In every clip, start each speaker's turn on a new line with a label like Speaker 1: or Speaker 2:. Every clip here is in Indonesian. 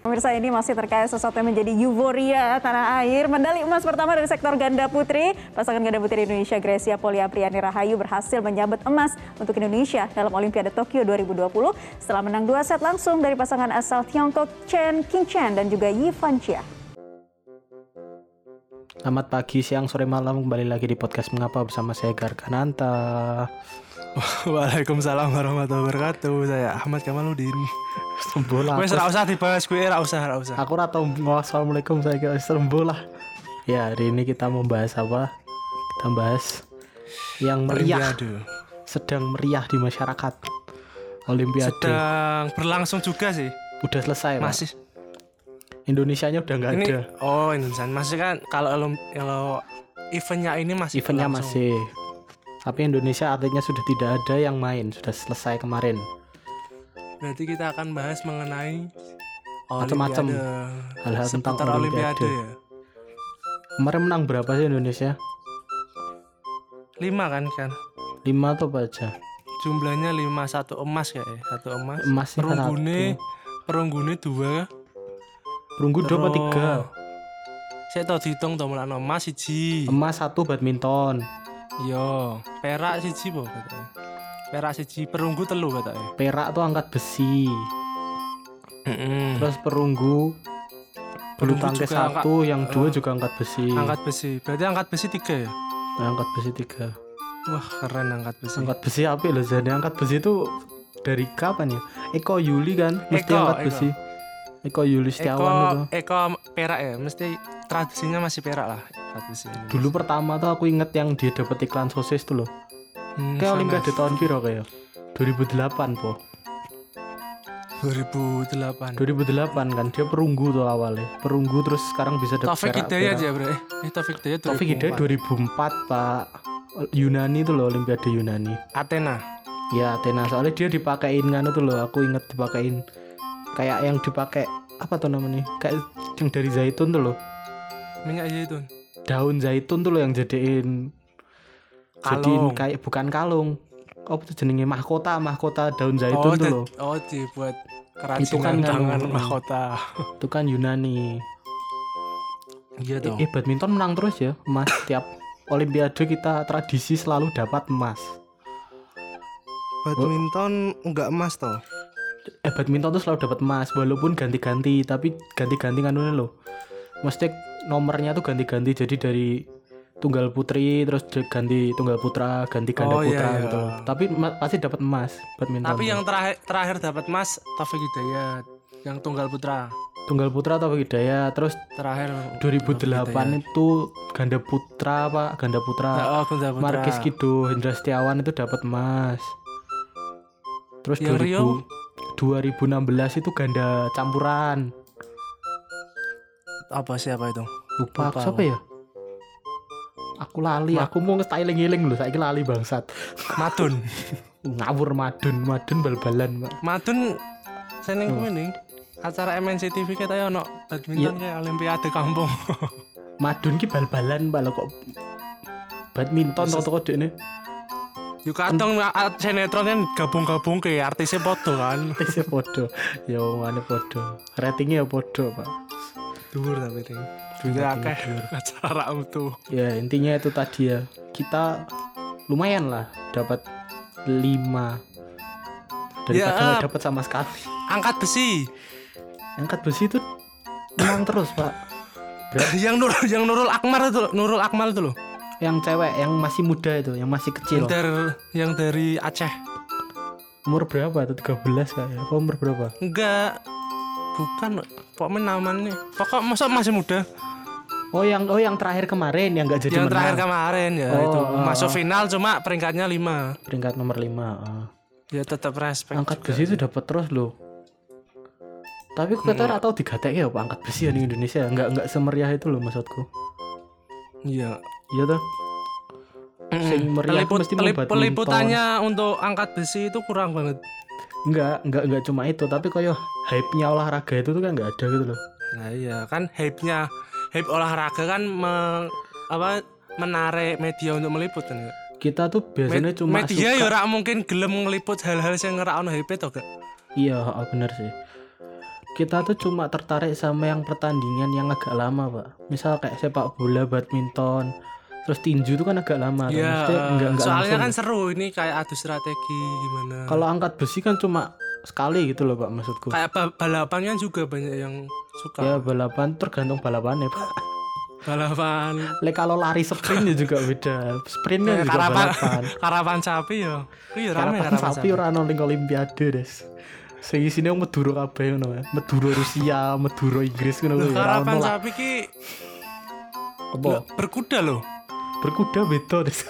Speaker 1: Pemirsa ini masih terkait sesuatu yang menjadi euforia tanah air. Medali emas pertama dari sektor ganda putri. Pasangan ganda putri Indonesia Gracia Poliapriani Rahayu berhasil menyabet emas untuk Indonesia dalam Olimpiade Tokyo 2020 setelah menang dua set langsung dari pasangan asal Tiongkok Chen Qingchen dan juga Yi Fanchia.
Speaker 2: Selamat pagi, siang, sore, malam kembali lagi di podcast Mengapa bersama saya Garkananta.
Speaker 3: Waalaikumsalam warahmatullahi wabarakatuh. Saya Ahmad Kamaludin.
Speaker 2: Sembol lah,
Speaker 3: Wes
Speaker 2: aku-
Speaker 3: ra usah dibahas kuwi, ra usah, ra usah.
Speaker 2: Aku rata Assalamualaikum saya kira sembol lah. Ya, hari ini kita membahas apa? Kita bahas yang meriah,
Speaker 3: Olimpiade.
Speaker 2: sedang meriah di masyarakat. Olimpiade
Speaker 3: Sedang berlangsung juga sih.
Speaker 2: udah selesai, Mas.
Speaker 3: Masih
Speaker 2: Indonesianya udah nggak
Speaker 3: ini
Speaker 2: Iya, ada.
Speaker 3: oh Indonesia masih kan kalau elem- kalau eventnya ini masih
Speaker 2: Eventnya masih.
Speaker 3: berlangsung.
Speaker 2: Tapi Indonesia atletnya sudah tidak ada yang main, sudah selesai kemarin.
Speaker 3: Berarti kita akan bahas mengenai
Speaker 2: Macam-macam.
Speaker 3: Olimpiade.
Speaker 2: Hal-hal tentang
Speaker 3: Seputar
Speaker 2: Olimpiade.
Speaker 3: ya.
Speaker 2: Kemarin menang berapa sih Indonesia?
Speaker 3: Lima kan kan.
Speaker 2: 5 atau apa aja?
Speaker 3: Jumlahnya lima satu emas kayaknya satu emas.
Speaker 2: Emasnya
Speaker 3: Perunggune perunggune dua.
Speaker 2: Perunggu dua apa tiga?
Speaker 3: Saya tahu dihitung to mulane emas siji.
Speaker 2: Emas satu badminton,
Speaker 3: Yo, perak siji po katanya. Perak siji perunggu telu katanya.
Speaker 2: perak tuh angkat besi,
Speaker 3: Heeh.
Speaker 2: terus perunggu bulu
Speaker 3: Perunggu
Speaker 2: tangkis
Speaker 3: juga angkat-
Speaker 2: satu, yang dua
Speaker 3: eh,
Speaker 2: juga angkat besi.
Speaker 3: Angkat besi. Berarti angkat besi tiga ya?
Speaker 2: Nah, angkat besi tiga.
Speaker 3: Wah, keren angkat besi.
Speaker 2: Angkat besi apa loh Zan? Angkat besi itu dari kapan ya? Eko Yuli kan mesti
Speaker 3: Eko,
Speaker 2: angkat
Speaker 3: Eko.
Speaker 2: besi. Eko Yuli
Speaker 3: Eko
Speaker 2: Setiawan itu.
Speaker 3: Eko perak ya, mesti tradisinya masih perak lah angkat besi. ini.
Speaker 2: Dulu pertama tuh aku inget yang dia dapet iklan sosis tuh loh. Kayak
Speaker 3: Hmm, sana.
Speaker 2: Olimpiade tahun piro kayak? ya? 2008 po.
Speaker 3: 2008.
Speaker 2: 2008 kan dia perunggu tuh awalnya. Perunggu terus sekarang bisa dapet
Speaker 3: Taufik
Speaker 2: perak,
Speaker 3: Hidayat
Speaker 2: perak.
Speaker 3: ya, Bro. Eh, Eh, Taufik Hidayat
Speaker 2: Taufik Hidayat 2004
Speaker 3: 2004.
Speaker 2: Pak Yunani itu loh Olimpiade Yunani
Speaker 3: Athena.
Speaker 2: ya Athena soalnya dia dipakein kan itu loh aku inget dipakein kayak yang dipakai apa tuh namanya kayak yang dari zaitun tuh loh
Speaker 3: Minyak zaitun.
Speaker 2: Nah, daun zaitun tuh loh yang jadiin jadiin
Speaker 3: Kalung.
Speaker 2: kayak bukan kalung apa tuh jenenge mahkota mahkota daun zaitun tuh
Speaker 3: oh, di-
Speaker 2: loh
Speaker 3: oh, dibuat
Speaker 2: Itu kan
Speaker 3: kerajinan tangan
Speaker 2: nganu.
Speaker 3: mahkota.
Speaker 2: itu kan Yunani eh,
Speaker 3: Iya dong.
Speaker 2: eh, badminton menang terus ya emas tiap Olimpiade kita tradisi selalu dapat emas
Speaker 3: Badminton enggak emas toh.
Speaker 2: eh badminton tuh selalu dapat emas walaupun ganti-ganti tapi ganti-ganti kan kanunnya loh mesti nomornya tuh ganti-ganti jadi dari tunggal putri terus j- ganti tunggal putra ganti ganda
Speaker 3: Oh, iya,
Speaker 2: putra
Speaker 3: iya.
Speaker 2: gitu tapi ma- pasti dapat emas badminton
Speaker 3: Tapi
Speaker 2: tuh.
Speaker 3: yang terakhir terakhir dapat emas Taufik Hidayat yang tunggal putra
Speaker 2: tunggal putra atau hidayah terus
Speaker 3: terakhir
Speaker 2: 2008 itu ganda putra pak ganda putra
Speaker 3: Oh, tunggal putra.
Speaker 2: Markis Kido Hendra Setiawan itu dapat emas terus
Speaker 3: Yang
Speaker 2: 2000
Speaker 3: Rio?
Speaker 2: 2016 itu ganda campuran
Speaker 3: Apa siapa itu?
Speaker 2: lupa aku
Speaker 3: Lupa
Speaker 2: siapa
Speaker 3: aku.
Speaker 2: ya aku lali aku mau ngestyling ngiling loh saya lali bangsat
Speaker 3: Madun.
Speaker 2: ngawur madun madun bal-balan Pak.
Speaker 3: Madun seneng
Speaker 2: Oh.
Speaker 3: kuwi ning acara MNC TV kita ya ono badminton
Speaker 2: Iya.
Speaker 3: kayak Olimpiade kampung.
Speaker 2: madun ki bal-balan Pak, lo kok badminton tau tau dek ini
Speaker 3: Yo kadang a- sinetron kan gabung-gabung ke artisnya foto kan.
Speaker 2: tesnya podo ya mana podo ratingnya ya podo pak
Speaker 3: Dur tapi ning. Duitnya akeh acara itu.
Speaker 2: ya intinya itu tadi ya kita lumayan lah dapat 5 daripada
Speaker 3: Ya.
Speaker 2: nggak dapat sama sekali
Speaker 3: Angkat besi.
Speaker 2: angkat besi itu menang terus pak
Speaker 3: yang Nur yang Nurul Akmal itu, Nurul Akmal itu loh.
Speaker 2: yang cewek yang masih muda itu yang masih kecil
Speaker 3: Yang dari yang dari Aceh.
Speaker 2: umur berapa tuh 13 kayaknya apa umur berapa
Speaker 3: Enggak. Bukan pokoknya namanya. Pokok masa masih muda.
Speaker 2: oh yang oh yang terakhir kemarin yang nggak jadi
Speaker 3: yang
Speaker 2: menang
Speaker 3: terakhir kemarin ya
Speaker 2: Oh,
Speaker 3: itu
Speaker 2: oh,
Speaker 3: masuk final cuma peringkatnya 5.
Speaker 2: peringkat nomor 5 ah.
Speaker 3: Ya tetap respect.
Speaker 2: angkat besi
Speaker 3: ya.
Speaker 2: itu dapat terus loh tapi
Speaker 3: Hmm.
Speaker 2: aku kata atau tiga ya apa angkat besi ya di Indonesia nggak nggak semeriah itu loh maksudku
Speaker 3: Iya.
Speaker 2: iya tuh Sing
Speaker 3: Mm-mm.
Speaker 2: meriah
Speaker 3: Peliput-
Speaker 2: mesti mau
Speaker 3: pelip-
Speaker 2: badminton.
Speaker 3: Hmm. peliputannya untuk angkat besi itu kurang banget.
Speaker 2: nggak nggak nggak cuma itu tapi koyo hype nya olahraga itu tuh kan nggak ada gitu loh
Speaker 3: Nah iya kan hype-nya hype olahraga kan me- apa menarik media untuk meliput kan. ya.
Speaker 2: kita tuh biasanya
Speaker 3: Med-
Speaker 2: cuma
Speaker 3: media
Speaker 2: suka-
Speaker 3: ya ora mungkin gelem ngeliput hal-hal yang ngerak ono hype to gak.
Speaker 2: Iya, heeh, bener sih. kita tuh cuma tertarik sama yang pertandingan yang agak lama pak misal kayak sepak bola badminton terus tinju itu kan agak lama
Speaker 3: Iya,
Speaker 2: Maksudnya nggak nggak
Speaker 3: soalnya
Speaker 2: langsung. ya.
Speaker 3: kan seru ini kayak adu strategi gimana.
Speaker 2: kalau angkat besi kan cuma sekali gitu loh pak maksudku
Speaker 3: kayak ba- balapan kan juga banyak yang suka.
Speaker 2: ya balapan tergantung balapannya pak
Speaker 3: Balapan
Speaker 2: Lek kalau lari sprintnya juga beda sprintnya
Speaker 3: kayak
Speaker 2: juga
Speaker 3: karapan,
Speaker 2: balapan
Speaker 3: karapan sapi ya. Iya, rame
Speaker 2: karapan sapi ora ono ning olimpiade des sing isine wong Madura kabeh ngono ya Madura Rusia Madura Inggris ngono
Speaker 3: Loh,
Speaker 2: kuwi, ya, ora
Speaker 3: karapan
Speaker 2: ono lah.
Speaker 3: sapi ki
Speaker 2: Apa?
Speaker 3: loh, berkuda loh.
Speaker 2: berkuda beda des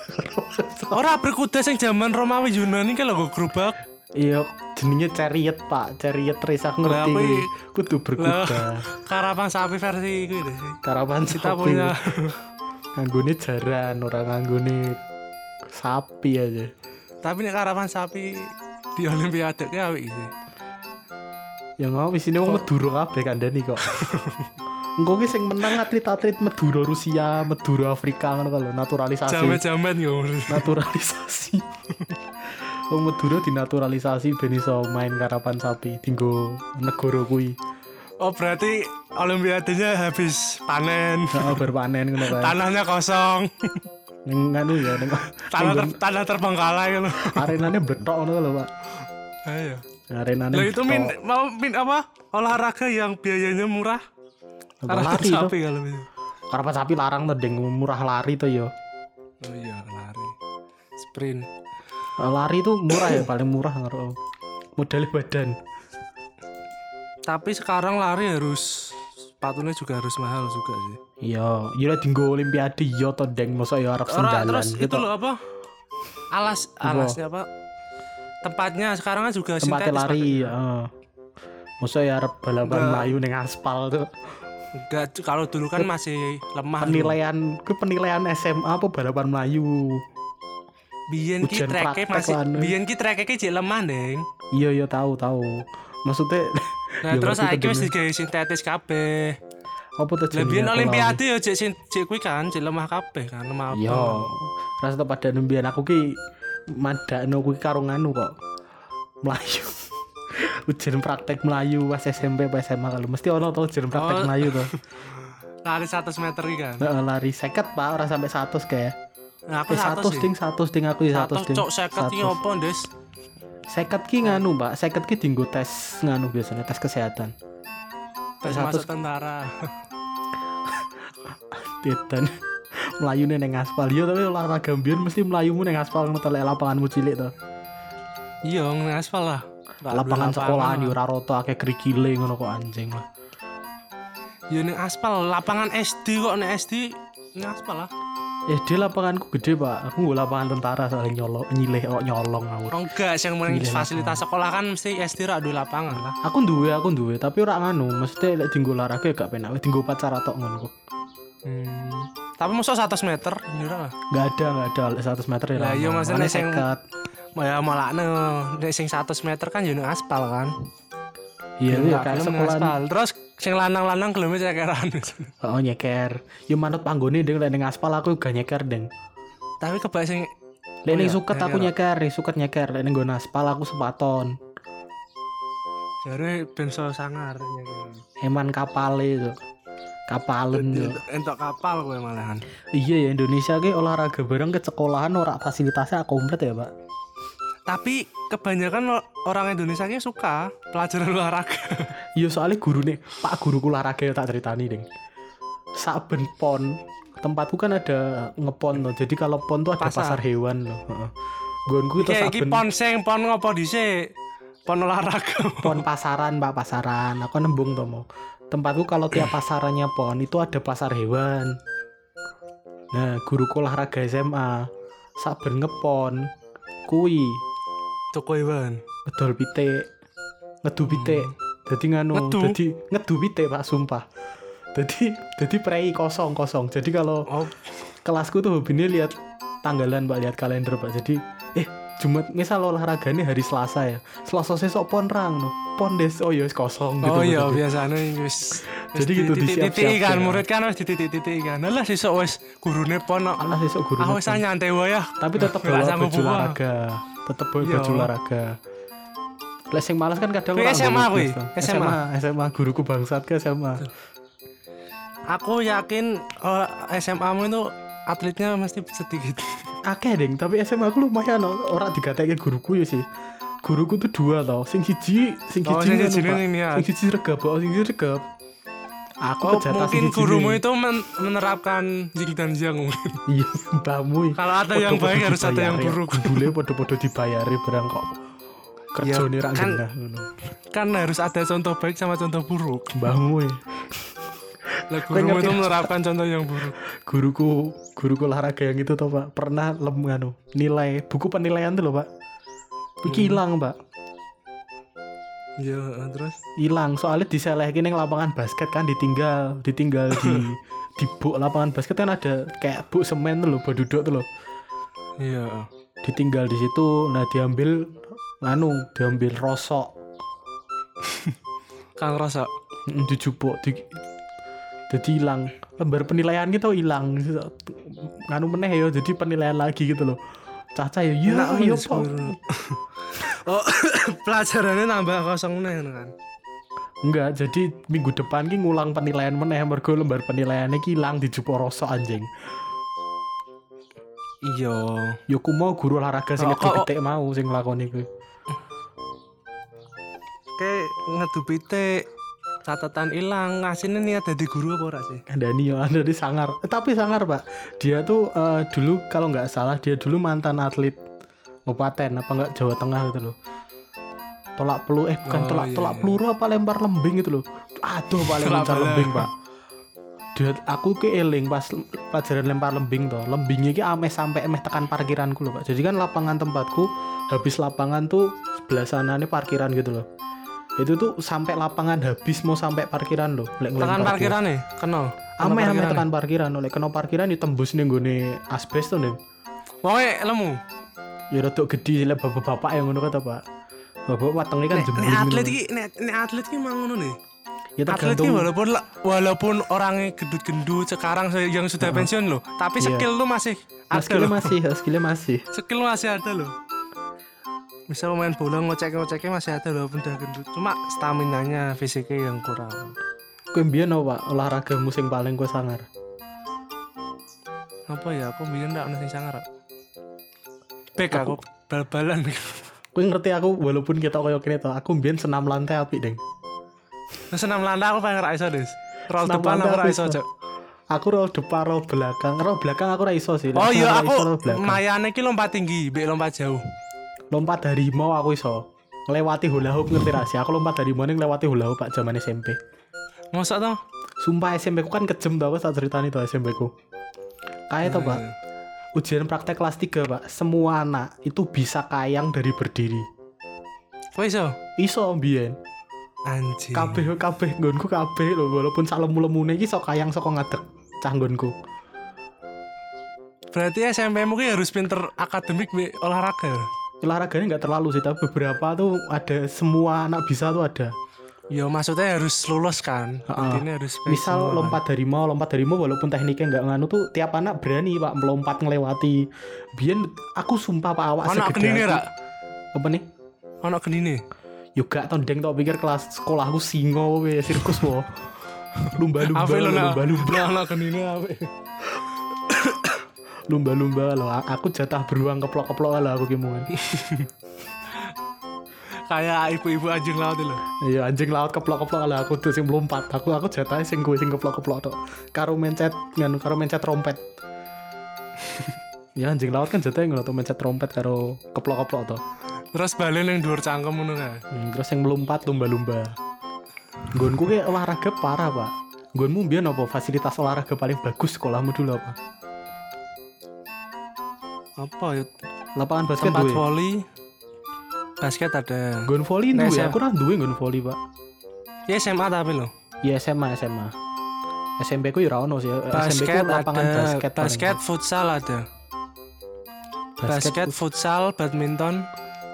Speaker 3: Ora berkuda sing zaman Romawi Yunani ki lho nggo gerobak.
Speaker 2: iya jenenge chariot pak chariot race aku ngerti
Speaker 3: Lah, apa
Speaker 2: kuwi.
Speaker 3: i-
Speaker 2: kudu berkuda
Speaker 3: Karapan sapi versi kuwi deh sih.
Speaker 2: karapan
Speaker 3: Kita
Speaker 2: sapi
Speaker 3: punya
Speaker 2: nganggone jaran ora nganggone sapi aja
Speaker 3: tapi nek karapan sapi di olimpiade ki awik sih.
Speaker 2: Ya mau di sini wong Madura kabeh kandhani kok. Engko ki sing menang atlet-atlet Madura Rusia, Madura Afrika ngono kalau naturalisasi.
Speaker 3: Jamet-jamet yo.
Speaker 2: Naturalisasi. Wong Madura dinaturalisasi ben iso main karapan sapi tinggo negara kuwi.
Speaker 3: Oh berarti olimpiadenya habis panen.
Speaker 2: Heeh berpanen ngono kan.
Speaker 3: Tanahnya kosong.
Speaker 2: Ning anu ya ning
Speaker 3: Tanah ter tanah terbengkalai
Speaker 2: kan
Speaker 3: loh.
Speaker 2: arenane bletok ngono lho, Pak.
Speaker 3: Ayo.
Speaker 2: Arenane.
Speaker 3: Loh Iya. itu min
Speaker 2: bletok.
Speaker 3: mau min apa? Olahraga yang biayanya murah.
Speaker 2: Apa
Speaker 3: Karapan
Speaker 2: lari to.
Speaker 3: sapi kalau bisa.
Speaker 2: Karapan sapi larang to deng murah lari to yo.
Speaker 3: Oh iya lari. Sprint.
Speaker 2: Eh, Lari tuh murah ya paling murah karo modal badan.
Speaker 3: Tapi sekarang lari harus sepatunya juga harus mahal juga sih.
Speaker 2: Iya, iya dinggo olimpiade iya to Deng, masa ya arep
Speaker 3: Orang
Speaker 2: sendalan.
Speaker 3: terus itu
Speaker 2: gitu.
Speaker 3: loh apa? Alas alasnya apa? Tempatnya sekarang kan juga
Speaker 2: tempatnya
Speaker 3: sintetis, Pak.
Speaker 2: lari, iya. heeh. Masa ya arep balapan
Speaker 3: Enggak.
Speaker 2: melayu ning aspal tuh.
Speaker 3: Enggak, kalau dulu kan masih lemah. dulu.
Speaker 2: Penilaian ku penilaian SMA apa balapan melayu.
Speaker 3: Biyen ki
Speaker 2: ujian praktek
Speaker 3: treke masih
Speaker 2: lah, anu.
Speaker 3: biyen ki treke ki jek lemah, Neng.
Speaker 2: Iya iya tahu tahu. Maksudnya
Speaker 3: Nah,
Speaker 2: ya
Speaker 3: terus
Speaker 2: berarti
Speaker 3: saiki wis
Speaker 2: kedengar-
Speaker 3: digawe sintetis kabeh.
Speaker 2: apa tuh
Speaker 3: Lah biyen
Speaker 2: jenengnya kalau-
Speaker 3: olimpiade ya jek sin- jek kuwi kan jek lemah kabeh kan, lemah
Speaker 2: Iya. Ras tetep pada nembian aku ki madakno kuwi karo nganu kok. Melayu. ujian praktek Melayu pas SMP pas SMA kalau mesti ono tau ujian praktek
Speaker 3: Oh.
Speaker 2: Melayu tuh
Speaker 3: apa. Lari 100 meter ki kan.
Speaker 2: Heeh, lari seket pak orang sampai 100 kayak
Speaker 3: Nah, aku
Speaker 2: Eh, satu
Speaker 3: 100 sih.
Speaker 2: sting satu sting aku ya satu
Speaker 3: 100
Speaker 2: sting
Speaker 3: cok 50 ki opo, Des?
Speaker 2: seket ki nganu mbak seket ki dinggo tes nganu biasanya tes kesehatan
Speaker 3: Tes
Speaker 2: 100.
Speaker 3: masuk tentara.
Speaker 2: dan melayu neng aspal iya tapi olahraga mbiyen mesti melayumu neng aspal ngono telek lapanganmu cilik to
Speaker 3: Iya, nang aspal lah. Nggak ada
Speaker 2: lapangan sekolahan
Speaker 3: lah.
Speaker 2: yo ora roto akeh kerikile ngono kok anjing lah
Speaker 3: Ya ning aspal, lapangan SD kok nek SD nang aspal lah.
Speaker 2: eh dia lapanganku gede pak aku nggak lapangan tentara soalnya nyolong nyileh kok nyolong aku
Speaker 3: Oh enggak, sing meneng
Speaker 2: Gila,
Speaker 3: fasilitas sekolah kan mesti SD ra duwe lapangan lah.
Speaker 2: aku duwe aku duwe tapi ora nganu mesti lek dinggo olahraga ya gak penak wis dinggo pacar tok ngono kok
Speaker 3: Hmm. Tapi masa 100 meter, ya lah.
Speaker 2: nggak ada nggak ada lek 100 meter ya
Speaker 3: Lah,
Speaker 2: ora
Speaker 3: iya,
Speaker 2: ono.
Speaker 3: maksudnya
Speaker 2: Makanya
Speaker 3: sing-
Speaker 2: seket.
Speaker 3: Ya malah no, nek sing 100 meter kan yo nang aspal kan.
Speaker 2: iya iya
Speaker 3: Nggak,
Speaker 2: kayak
Speaker 3: gelem nang
Speaker 2: sekolahan
Speaker 3: aspal. Terus sing lanang-lanang geleme
Speaker 2: ya,
Speaker 3: cekeran.
Speaker 2: Oh nyeker. Ya manut panggone ding lek ning aspal aku gak nyeker ding.
Speaker 3: Tapi kebak sing
Speaker 2: Lek
Speaker 3: Oh
Speaker 2: ning
Speaker 3: iya,
Speaker 2: suket aku nyeker,
Speaker 3: nyeker.
Speaker 2: ning suket nyeker, lek ning nggon aspal aku sepaton.
Speaker 3: jare ben ya kan. so sangar nyekeran.
Speaker 2: Eman kapale itu. Kapalen itu.
Speaker 3: Entok kapal kowe malahan.
Speaker 2: Iya ya Indonesia ki olahraga bareng ke sekolahan ora fasilitasnya komplit ya, Pak.
Speaker 3: Tapi kebanyakan lo- orang Indonesia ini suka pelajaran olahraga.
Speaker 2: Iya soalnya guru nih, Pak guru olahraga ya tak ceritani ding. Saben pon tempatku kan ada ngepon loh. Jadi kalau pon tuh ada pasar,
Speaker 3: Pasar.
Speaker 2: hewan loh. Heeh. Gonku itu
Speaker 3: Kayak iki
Speaker 2: saben
Speaker 3: pon sing pon ngopo dhisik? Pon olahraga.
Speaker 2: pon pasaran pak pasaran aku nembung tuh mau tempatku kalau tiap pasarannya pon itu ada pasar hewan nah guru olahraga SMA saben ngepon kui
Speaker 3: Toko Iwan.
Speaker 2: ngedol pitik ngedu pitik jadi nganu
Speaker 3: Hmm. Ngedu?
Speaker 2: jadi ngedu pitik pak sumpah jadi jadi prei kosong kosong jadi kalau
Speaker 3: Oh,
Speaker 2: kelasku tuh hobinya lihat tanggalan pak lihat kalender pak jadi eh Jumat misal olahraga ini hari Selasa ya Selasa sesok pon rang no pon des oh ya wis kosong gitu
Speaker 3: oh iya
Speaker 2: maksudnya.
Speaker 3: biasanya wis wis
Speaker 2: Jadi gitu,
Speaker 3: dititik-titiki
Speaker 2: disiap-siap
Speaker 3: kan
Speaker 2: ya.
Speaker 3: murid kan wis dititik-titiki kan. Lah sesuk wis gurune pon kok.
Speaker 2: alah sesok guru
Speaker 3: Ah wis
Speaker 2: ngepen.
Speaker 3: nyantai wae ya.
Speaker 2: tapi tetap
Speaker 3: Nggak
Speaker 2: bawa
Speaker 3: sanggup
Speaker 2: baju
Speaker 3: gua.
Speaker 2: olahraga tetap bawa
Speaker 3: Iya.
Speaker 2: baju olahraga Lek sing malas kan kadang
Speaker 3: Kuwi
Speaker 2: orang
Speaker 3: SMA
Speaker 2: bagus,
Speaker 3: kuwi.
Speaker 2: Bang.
Speaker 3: SMA.
Speaker 2: SMA, SMA guruku bangsat ke SMA.
Speaker 3: Aku yakin eh, SMA-mu itu atletnya mesti sedikit.
Speaker 2: Akeh ding, tapi SMA aku lumayan no. ora digatekake guruku ya sih. Guruku tuh dua tau, sing siji, sing siji,
Speaker 3: Oh, sing
Speaker 2: anu,
Speaker 3: siji
Speaker 2: Pak.
Speaker 3: ini, ya.
Speaker 2: sing siji regap, oh, sing siji regap. Aku
Speaker 3: Oh,
Speaker 2: kejata sing
Speaker 3: mungkin
Speaker 2: siji
Speaker 3: gurumu
Speaker 2: ini.
Speaker 3: itu men- menerapkan yin dan yang mungkin.
Speaker 2: Iya, mbamu.
Speaker 3: Kalau ada yang
Speaker 2: Podo-podo
Speaker 3: baik, harus ada yang
Speaker 2: dibayari.
Speaker 3: buruk.
Speaker 2: Gudule podo-podo dibayari barang kok. Kerjane ra
Speaker 3: kan-
Speaker 2: genah ngono.
Speaker 3: Kan harus ada contoh baik sama contoh buruk.
Speaker 2: Mbamu.
Speaker 3: Lah gurumu
Speaker 2: ngerti
Speaker 3: itu menerapkan contoh yang buruk.
Speaker 2: Guruku, guruku olahraga yang itu tau, Pak. Pernah lem anu, nilai buku penilaian tuh loh, Pak.
Speaker 3: Hmm.
Speaker 2: Iki hilang, Pak.
Speaker 3: Iya, terus
Speaker 2: hilang soalnya diselehkin yang lapangan basket kan ditinggal ditinggal di di buk lapangan basket kan ada kayak buk semen tuh loh buat duduk tuh loh
Speaker 3: iya.
Speaker 2: ditinggal di situ nah diambil anu diambil rosok
Speaker 3: Kang Rosa.
Speaker 2: Mm, dijupuk di, jadi hilang lembar penilaian kita hilang anu meneh ya jadi penilaian lagi gitu loh caca ya ya
Speaker 3: Enak
Speaker 2: ya
Speaker 3: wis,
Speaker 2: Pak."
Speaker 3: guru. oh, pelajarannya nambah kosong nih kan.
Speaker 2: Enggak, jadi minggu depan ki ngulang penilaian meneh mergo lembar penilaiannya ki hilang dijupuk rosok anjing.
Speaker 3: Iya.
Speaker 2: Ya ku mau guru olahraga sing
Speaker 3: Oh,
Speaker 2: ngedit
Speaker 3: kok-
Speaker 2: detik mau sing nglakoni kuwi.
Speaker 3: Kayak ngedupi teh catatan hilang ngasihnya nih ada di guru apa ora sih?
Speaker 2: Andani ya Andani sangar. Eh, tapi sangar, Pak. Dia tuh eh, dulu kalau nggak salah dia dulu mantan atlet Kabupaten apa enggak Jawa Tengah gitu loh. Tolak pelu eh bukan
Speaker 3: Oh,
Speaker 2: tolak
Speaker 3: iya,
Speaker 2: tolak
Speaker 3: iya.
Speaker 2: peluru apa lempar lembing gitu loh. Aduh, paling
Speaker 3: Tolak
Speaker 2: lempar
Speaker 3: bala.
Speaker 2: lembing, Pak. Dia, aku keeling pas pelajaran lempar lembing toh. Lembingnya ki ameh sampai emeh tekan parkiranku loh, Pak. Jadi kan lapangan tempatku habis lapangan tuh sebelah sana nih parkiran gitu loh. Itu tuh sampai lapangan habis mau sampai parkiran loh. lek
Speaker 3: Tekan
Speaker 2: ngelempar dia.
Speaker 3: parkiran nih, kenal.
Speaker 2: Ame ame tekan parkiran oleh kena parkiran ditembus ning nggone asbes to ning.
Speaker 3: Wonge lemu.
Speaker 2: Ya rada gedhi lah bapak-bapak yang ngono kata Pak. Bapak watenge kan
Speaker 3: Nek
Speaker 2: jembling.
Speaker 3: nek atlet
Speaker 2: gitu.
Speaker 3: iki nek nek atlet iki mang ngono nih.
Speaker 2: ya
Speaker 3: Atlet iki
Speaker 2: tergantung
Speaker 3: walaupun le- walaupun orangnya gendut-gendut sekarang se- yang sudah pensiun loh, tapi
Speaker 2: Iya.
Speaker 3: skill lu masih
Speaker 2: Nah,
Speaker 3: ada
Speaker 2: skillnya
Speaker 3: loh.
Speaker 2: masih, ya, skillnya masih.
Speaker 3: Skill masih ada loh. Misal pemain bola ngocek-ngoceknya masih ada walaupun udah gendut. Cuma stamina-nya fisiknya yang kurang.
Speaker 2: Kowe mbiyen apa Pak? olahraga musim paling kowe sangar?
Speaker 3: Apa ya aku biyen ndak ono sing sangar. Ra. Bek aku bal-balan.
Speaker 2: Kowe ngerti aku walaupun kita koyo kene to, aku mbiyen senam lantai apik, Deng.
Speaker 3: Terus senam lantai aku pengen ra iso, Des. Roll
Speaker 2: Senam
Speaker 3: depan
Speaker 2: lantai
Speaker 3: aku ra
Speaker 2: aku
Speaker 3: iso,
Speaker 2: iso.
Speaker 3: Cok.
Speaker 2: Aku roll depan, roll belakang. Roll belakang aku ra iso sih.
Speaker 3: Oh iya
Speaker 2: ra iso roll
Speaker 3: aku
Speaker 2: belakang.
Speaker 3: mayane iki lompat tinggi, bek lompat jauh.
Speaker 2: lompat harimau aku iso. Ngelewati hula hoop ngerti ra sih? Aku lompat harimau ning ngelewati hula hoop Pak zaman SMP.
Speaker 3: Mosok to?
Speaker 2: Sumpah SMP ku kan kejem tau aku tak ceritani tau SMP ku. Kayak tau pak, ujian praktek kelas 3 pak, semua anak itu bisa kayang dari berdiri.
Speaker 3: Kowe iso?
Speaker 2: Iso mbien,
Speaker 3: Anjing.
Speaker 2: kabeh kabeh nggonku kabeh lho walaupun salemu lemune iki iso kayang saka ngadeg cah nggonku.
Speaker 3: Berarti SMP mu ki harus pinter akademik be olahraga.
Speaker 2: Olahraganya nggak terlalu sih, tapi beberapa tuh ada semua anak bisa tuh ada.
Speaker 3: Ya maksudnya harus lulus kan.
Speaker 2: Ha-ha.
Speaker 3: Intinya harus baik semua
Speaker 2: Misal
Speaker 3: kan.
Speaker 2: lompat harimau, lompat harimau walaupun tekniknya nggak nganu tuh tiap anak berani pak melompat ngelewati. Biyen aku sumpah pak awak
Speaker 3: Anak
Speaker 2: segede
Speaker 3: genine
Speaker 2: aku-
Speaker 3: ra.
Speaker 2: Apa nih?
Speaker 3: Anak genine.
Speaker 2: Yo gak tondeng tau pikir kelas sekolahku singo we sirkus wo. Lumba-lumba,
Speaker 3: Apa lo nak?
Speaker 2: lumba-lumba,
Speaker 3: Nah, Anak genine apa?
Speaker 2: lumba-lumba lo. Aku jatah beruang keplok-keplok lah aku kimungan.
Speaker 3: Kayak ibu-ibu anjing laut itu loh.
Speaker 2: Iya anjing laut keplok-keplok lah aku tuh sing melompat. Aku aku jatah sing gue sing keplok-keplok tok. Karo mencet nganu karo mencet trompet. ya anjing laut kan jatah ngono tuh mencet trompet karo keplok-keplok tok.
Speaker 3: Terus balen yang dhuwur cangkem ngono kan.
Speaker 2: Hmm, terus yang melompat lumba-lumba. Gonku kayak olahraga parah pak. Gonmu biar apa fasilitas olahraga paling bagus sekolahmu dulu apa?
Speaker 3: Apa ya?
Speaker 2: Lapangan basket
Speaker 3: Tempat
Speaker 2: Kan duwe.
Speaker 3: voli basket ada.
Speaker 2: Gon volley
Speaker 3: Nah,
Speaker 2: duwe,
Speaker 3: saya-
Speaker 2: aku ora duwe gon volley, Pak.
Speaker 3: Ya SMA tapi loh.
Speaker 2: Ya SMA, SMA. SMP ku ya ora ono sih. SMP ku
Speaker 3: Basket
Speaker 2: lapangan
Speaker 3: ada.
Speaker 2: basket.
Speaker 3: Basket,
Speaker 2: paling.
Speaker 3: futsal ada.
Speaker 2: basket.
Speaker 3: Basket, futsal, badminton,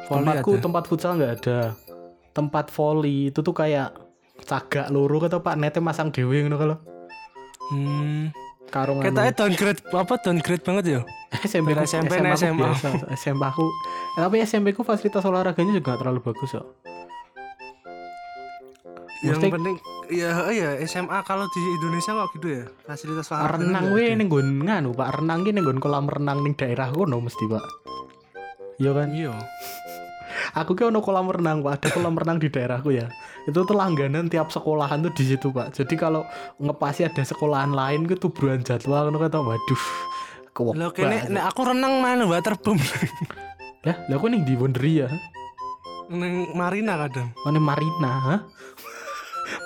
Speaker 3: voli
Speaker 2: Tempatku
Speaker 3: ada.
Speaker 2: tempat futsal nggak ada. Tempat volley itu tuh kayak cagak loro kata Pak nete masang dhewe ngono kalau
Speaker 3: Hmm.
Speaker 2: karung anu.
Speaker 3: Ketoknya downgrade apa downgrade banget ya?
Speaker 2: SMP ku,
Speaker 3: SMP,
Speaker 2: SMA, ku
Speaker 3: SMA.
Speaker 2: biasa, SMA ku. Eh, tapi SMP ku fasilitas olahraganya juga nggak terlalu bagus kok.
Speaker 3: yang
Speaker 2: Mesti-
Speaker 3: penting ya ya SMA kalau di Indonesia kok gitu ya fasilitas olahraga
Speaker 2: renang
Speaker 3: nggak
Speaker 2: we
Speaker 3: ada.
Speaker 2: ning nggon nganu Pak, renang ki ning nggon kolam renang ning daerah kono mesti, Pak. Iya kan?
Speaker 3: iya
Speaker 2: Aku ki ono kolam renang, Pak. Ada kolam renang di daerahku ya. Itu tuh langganan tiap sekolahan tuh di situ, Pak. Jadi kalau ngepasi ada sekolahan lain ke tubruan jadwal ngono kata waduh. Kewok.
Speaker 3: lo kene nek aku renang mana waterboom
Speaker 2: Lah, lah aku ning di Bonderia.
Speaker 3: neng Marina kadang
Speaker 2: Mana Marina, ha?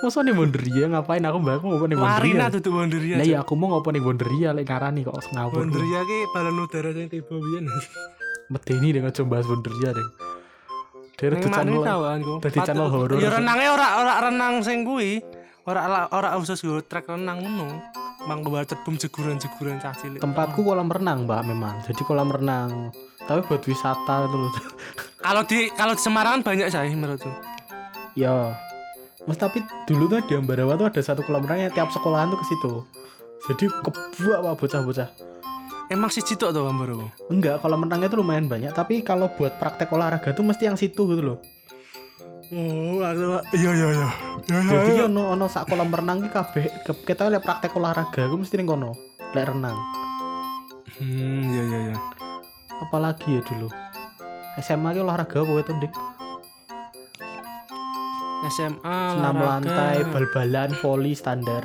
Speaker 2: Masa ning Bonderia ngapain aku mbak aku ngopo ning Bonderia.
Speaker 3: Marina tutup Bonderia
Speaker 2: Lah ya aku mau ngopo ning Bonderia lek ngarani kok ngawur.
Speaker 3: Bonderia ki balon udara yang tiba biyen
Speaker 2: Medeni dengan coba bahas Bonderia ya, deh. Dari
Speaker 3: neng
Speaker 2: tuh
Speaker 3: Marina
Speaker 2: channel
Speaker 3: tahu kan kok
Speaker 2: Dadi channel horor.
Speaker 3: ya renangnya ora ora renang sing kuwi ora ora- ora usus go trek renang ngono mang waterboom jeguran-jeguran cah cilik
Speaker 2: tempatku kolam renang mbak memang. Jadi kolam renang. Tapi buat wisata itu loh.
Speaker 3: kalau di kalau di Semarang kan banyak saya menurutku
Speaker 2: ya. Mas tapi dulu tuh di Ambarawa tuh ada satu kolam renang yang tiap sekolahan tuh ke situ. Jadi kebuak pak bocah-bocah.
Speaker 3: emang siji tok to gambar aku
Speaker 2: Enggak, kolam renangnya tuh lumayan banyak. Tapi kalau buat praktek olahraga tuh mesti yang situ gitu loh.
Speaker 3: Oh, aku iya iya iya. Iya
Speaker 2: Jadi ki ono ono sak kolam renang ki kabeh ke- kita lihat praktek olahraga, aku mesti ning kono. Lek renang.
Speaker 3: Hmm, iya iya iya.
Speaker 2: Apalagi ya dulu. SMA ki olahraga kowe tuh Dik.
Speaker 3: SMA,
Speaker 2: Senam
Speaker 3: olahraga,
Speaker 2: lantai, bal-balan, voli standar.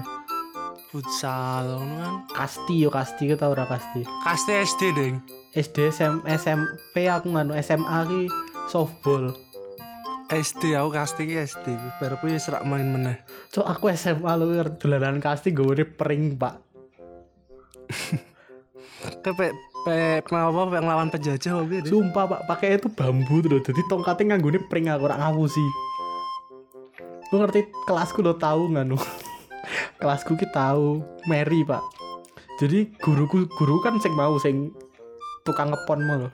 Speaker 3: futsal ngono kan.
Speaker 2: Kasti yo kasti kita ora kasti.
Speaker 3: Kaste SD, Ding.
Speaker 2: SD SM, SMP aku nganu SMA ki softball.
Speaker 3: SD aku kaste ki SD. Baru aku ya serak main meneh.
Speaker 2: So aku SMA lu ngerti, dolanan kasti gue pering pak.
Speaker 3: Ke pe pe apa pe nglawan penjajah apa gitu.
Speaker 2: Sumpah pak, pakai itu bambu tuh. loh. Jadi tongkatnya nganggone pring aku ora ngawusi. Lu ngerti kelasku lo tahu nganu. kelasku ki tahu Mary pak. Jadi guruku guru kan sing mau sing tukang ngepon mau lho.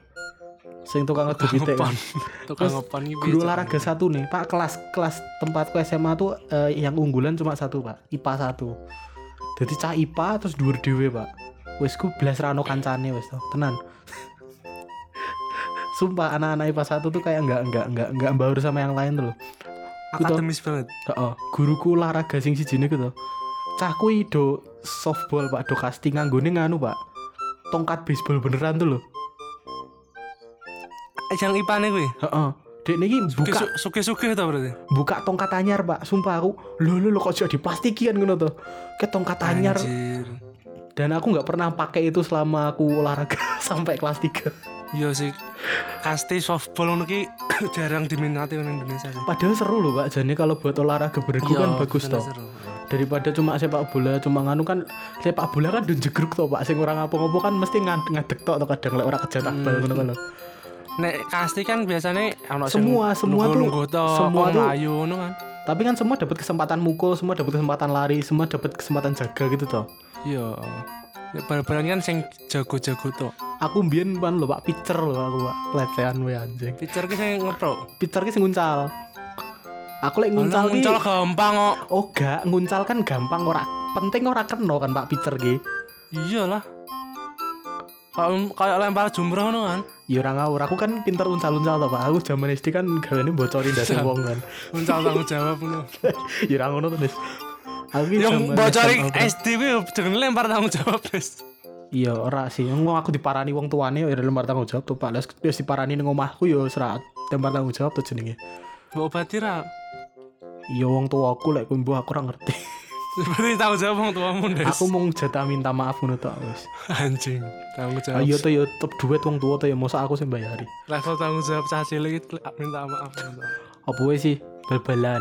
Speaker 2: Sing tukang ngedup itik kan.
Speaker 3: Tukang
Speaker 2: Terus
Speaker 3: ngepon iki.
Speaker 2: Guru olahraga satu nih, Pak. Kelas kelas tempatku SMA tuh eh, yang unggulan cuma satu, Pak. IPA satu. Jadi cah IPA terus dua dewe, Pak. Wes ku belas rano kancane wes tuh. Tenan. Sumpah anak-anak IPA satu tuh kayak nggak nggak nggak nggak baur sama yang lain tuh loh. Aku tuh-
Speaker 3: akademis banget.
Speaker 2: Heeh, guruku olahraga sing siji niku to. Cah kuwi do softball Pak, do casting nganggone nganu, Pak. Tongkat baseball beneran tuh loh.
Speaker 3: Eh, Yang ipane kuwi.
Speaker 2: Heeh. Dek niki buka
Speaker 3: Suke-suke to berarti.
Speaker 2: buka tongkat anyar pak sumpah aku lo lo lo kok jadi plastikian ngono tuh ke tongkat anyar
Speaker 3: Anjir.
Speaker 2: dan aku nggak pernah pakai itu selama aku olahraga sampai kelas 3
Speaker 3: Iya sih. Kaste softball ngono ki jarang diminati orang Indonesia sih.
Speaker 2: padahal seru loh pak jadi kalau buat olahraga beregu kan
Speaker 3: Iya,
Speaker 2: bagus
Speaker 3: bener
Speaker 2: toh
Speaker 3: seru.
Speaker 2: daripada cuma sepak bola cuma nganu kan sepak bola kan dun jegruk toh pak sing orang ngopo-ngopo kan mesti ngad- ngadeg tok toh kadang lek ora kejetak bal ngono
Speaker 3: Hmm.
Speaker 2: kan lho.
Speaker 3: Nek kasti kan biasanya ono
Speaker 2: Semua- semua tuh-
Speaker 3: lungguh
Speaker 2: semua tuh-
Speaker 3: layu ngono kan.
Speaker 2: tapi kan semua dapat kesempatan mukul semua dapat kesempatan lari semua dapat kesempatan jaga gitu toh
Speaker 3: Iya. Nek bal-balan kan sing jago-jago tok.
Speaker 2: aku mbien pan lho pak pitcher lho aku pak pelecehan we anjing
Speaker 3: Pitcher ki sing ngepro.
Speaker 2: Peter ki sing nguncal. Aku lek
Speaker 3: Alah,
Speaker 2: nguncal ki
Speaker 3: nguncal gampang kok.
Speaker 2: oh gak nguncal kan gampang ora penting ora kena kan Pak Peter ki.
Speaker 3: Iyalah. Kayak kayak lempar jumroh ngono kan.
Speaker 2: Ya ora ngawur, aku kan pinter uncal-uncal to Pak. Aku zaman SD kan gaweane bocorin dasi wong kan.
Speaker 3: Nguncal tanggung jawab ngono.
Speaker 2: Ya ora ngono tulis. Aku ki
Speaker 3: Yang
Speaker 2: zaman
Speaker 3: bocori
Speaker 2: SMA, Pak.
Speaker 3: SD kuwi jenenge lempar tanggung jawab wis.
Speaker 2: Iya ora sih. Wong aku diparani wong tuane ya lempar tanggung jawab tuh Pak. Les wis diparani ning omahku ya serat lempar tanggung jawab tuh jenenge.
Speaker 3: Mbok obati ra.
Speaker 2: Iya wong tuaku lek kuwi mbok aku ora ngerti.
Speaker 3: Berarti tanggung jawab wong tuamu Des.
Speaker 2: aku mau jatah minta maaf ngono tok wis.
Speaker 3: anjing. Tanggung jawab.
Speaker 2: Ayo to ya top duet wong tua to ya mosok aku sing bayari.
Speaker 3: Level tanggung jawab cah cilik iki minta maaf. minta maaf.
Speaker 2: apa wae sih bal-balan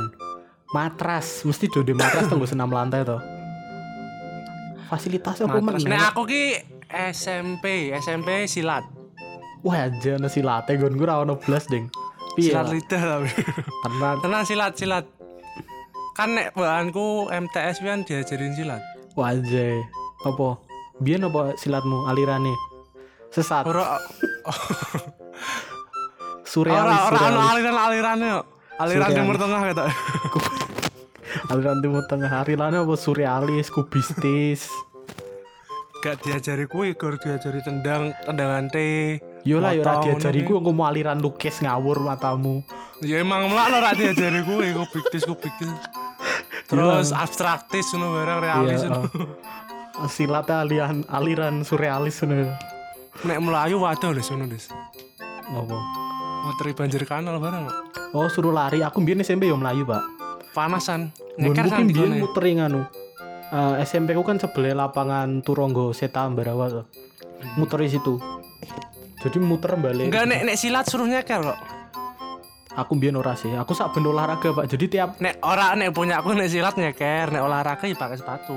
Speaker 2: matras mesti dode matras tunggu senam lantai toh fasilitasnya apa
Speaker 3: Matras. Nah.
Speaker 2: meneng
Speaker 3: Nek aku ki SMP, SMP silat.
Speaker 2: wah aja nasi latte gon gue rawan belas ding piye Pak?
Speaker 3: Silat lidah tapi.
Speaker 2: karena
Speaker 3: Tenang silat silat. Kan nek bahanku MTS kan diajarin silat.
Speaker 2: wah aja apa biar apa silatmu alirannya sesat
Speaker 3: Ora ora
Speaker 2: surrealis
Speaker 3: ora ono
Speaker 2: surrealis
Speaker 3: aliran alirannya kok. Aliran
Speaker 2: Surrealis.
Speaker 3: timur tengah kata.
Speaker 2: aliran timur tengah hari lana apa surrealis kubistis
Speaker 3: Gak diajari kuwi, gor diajari tendang, tendangan T.
Speaker 2: yola yola
Speaker 3: motong,
Speaker 2: diajari
Speaker 3: ngono
Speaker 2: gue ngomong aliran lukis ngawur matamu
Speaker 3: ki. Ya emang melak lo ora diajari kuwi, kubik tis kubik tis. terus abstraktis ngono barang realis
Speaker 2: Iya,
Speaker 3: ngono.
Speaker 2: oh. silatnya aliran aliran surrealis ngono.
Speaker 3: nek melayu waduh lho ngono Des.
Speaker 2: Ngopo?
Speaker 3: Moteri banjir kanal barang kok.
Speaker 2: Oh, suruh lari. Aku mbiyen SMP yo mlayu, Pak.
Speaker 3: panasan
Speaker 2: Mungkin
Speaker 3: nyeker sang di ya?
Speaker 2: mbiyen
Speaker 3: kene.
Speaker 2: muteri nganu. Eh, SMP ku kan sebelah lapangan Turonggo Seta Ambarawa tuh. Muteri situ. Jadi muter balik.
Speaker 3: Hmm. enggak nek nek silat suruh nyeker kok
Speaker 2: Aku mbiyen ora sih. Aku sak ben olahraga, Pak. Jadi tiap
Speaker 3: nek ora nek punya aku nek silat nyeker nek olahraga ya pakai sepatu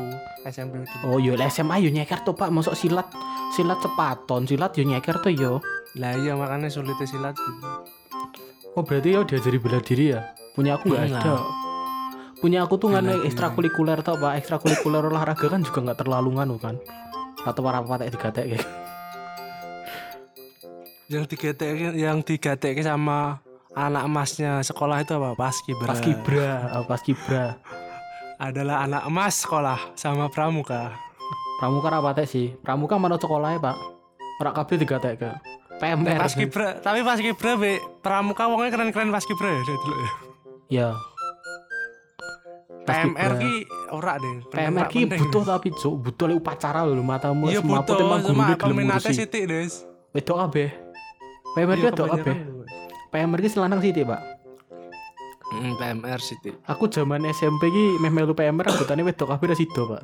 Speaker 3: SMP itu
Speaker 2: Oh yo lah SMA yo nyeker tuh Pak, mosok silat silat cepaton, silat yo nyeker tuh yo.
Speaker 3: lah iya makanya sulitnya silat gitu
Speaker 2: Oh berarti yo diajari bela diri ya? Punya aku nggak
Speaker 3: Enggak.
Speaker 2: ada. Punya aku tuh nggak ekstrakurikuler tau Pak, ekstrakurikuler olahraga kan juga nggak terlalu nganu kan. Atau para patek digatek kayak.
Speaker 3: yang digetek yang digetek sama anak emasnya sekolah itu apa paskibra
Speaker 2: Pas kibra, oh, pas kibra.
Speaker 3: adalah anak emas sekolah sama pramuka
Speaker 2: Pramuka ra patek sih. Pramuka mana sekolahnya Pak? Ora kabeh digatek ke. PMR.
Speaker 3: paskibra tapi paskibra be pramuka wongnya keren-keren paskibra ya lihat dulu ya.
Speaker 2: Ya. Pas
Speaker 3: PMR
Speaker 2: kibra.
Speaker 3: ki ora deh
Speaker 2: PMR ki
Speaker 3: Penting.
Speaker 2: butuh tapi cuk, butuh oleh upacara lho matamu
Speaker 3: iya
Speaker 2: semaput
Speaker 3: butuh
Speaker 2: emang
Speaker 3: cuma
Speaker 2: gurune gelem
Speaker 3: peminatnya
Speaker 2: ngurusi.
Speaker 3: sitik des
Speaker 2: Wedok kabeh. PMR ki
Speaker 3: Iya,
Speaker 2: wedok kabeh.
Speaker 3: kebanyakan.
Speaker 2: PMR ki lanang sithik, Pak.
Speaker 3: Mm, PMR City.
Speaker 2: Aku zaman SMP ki meh melu PMR anggotane wedok kabeh ra sida, Pak.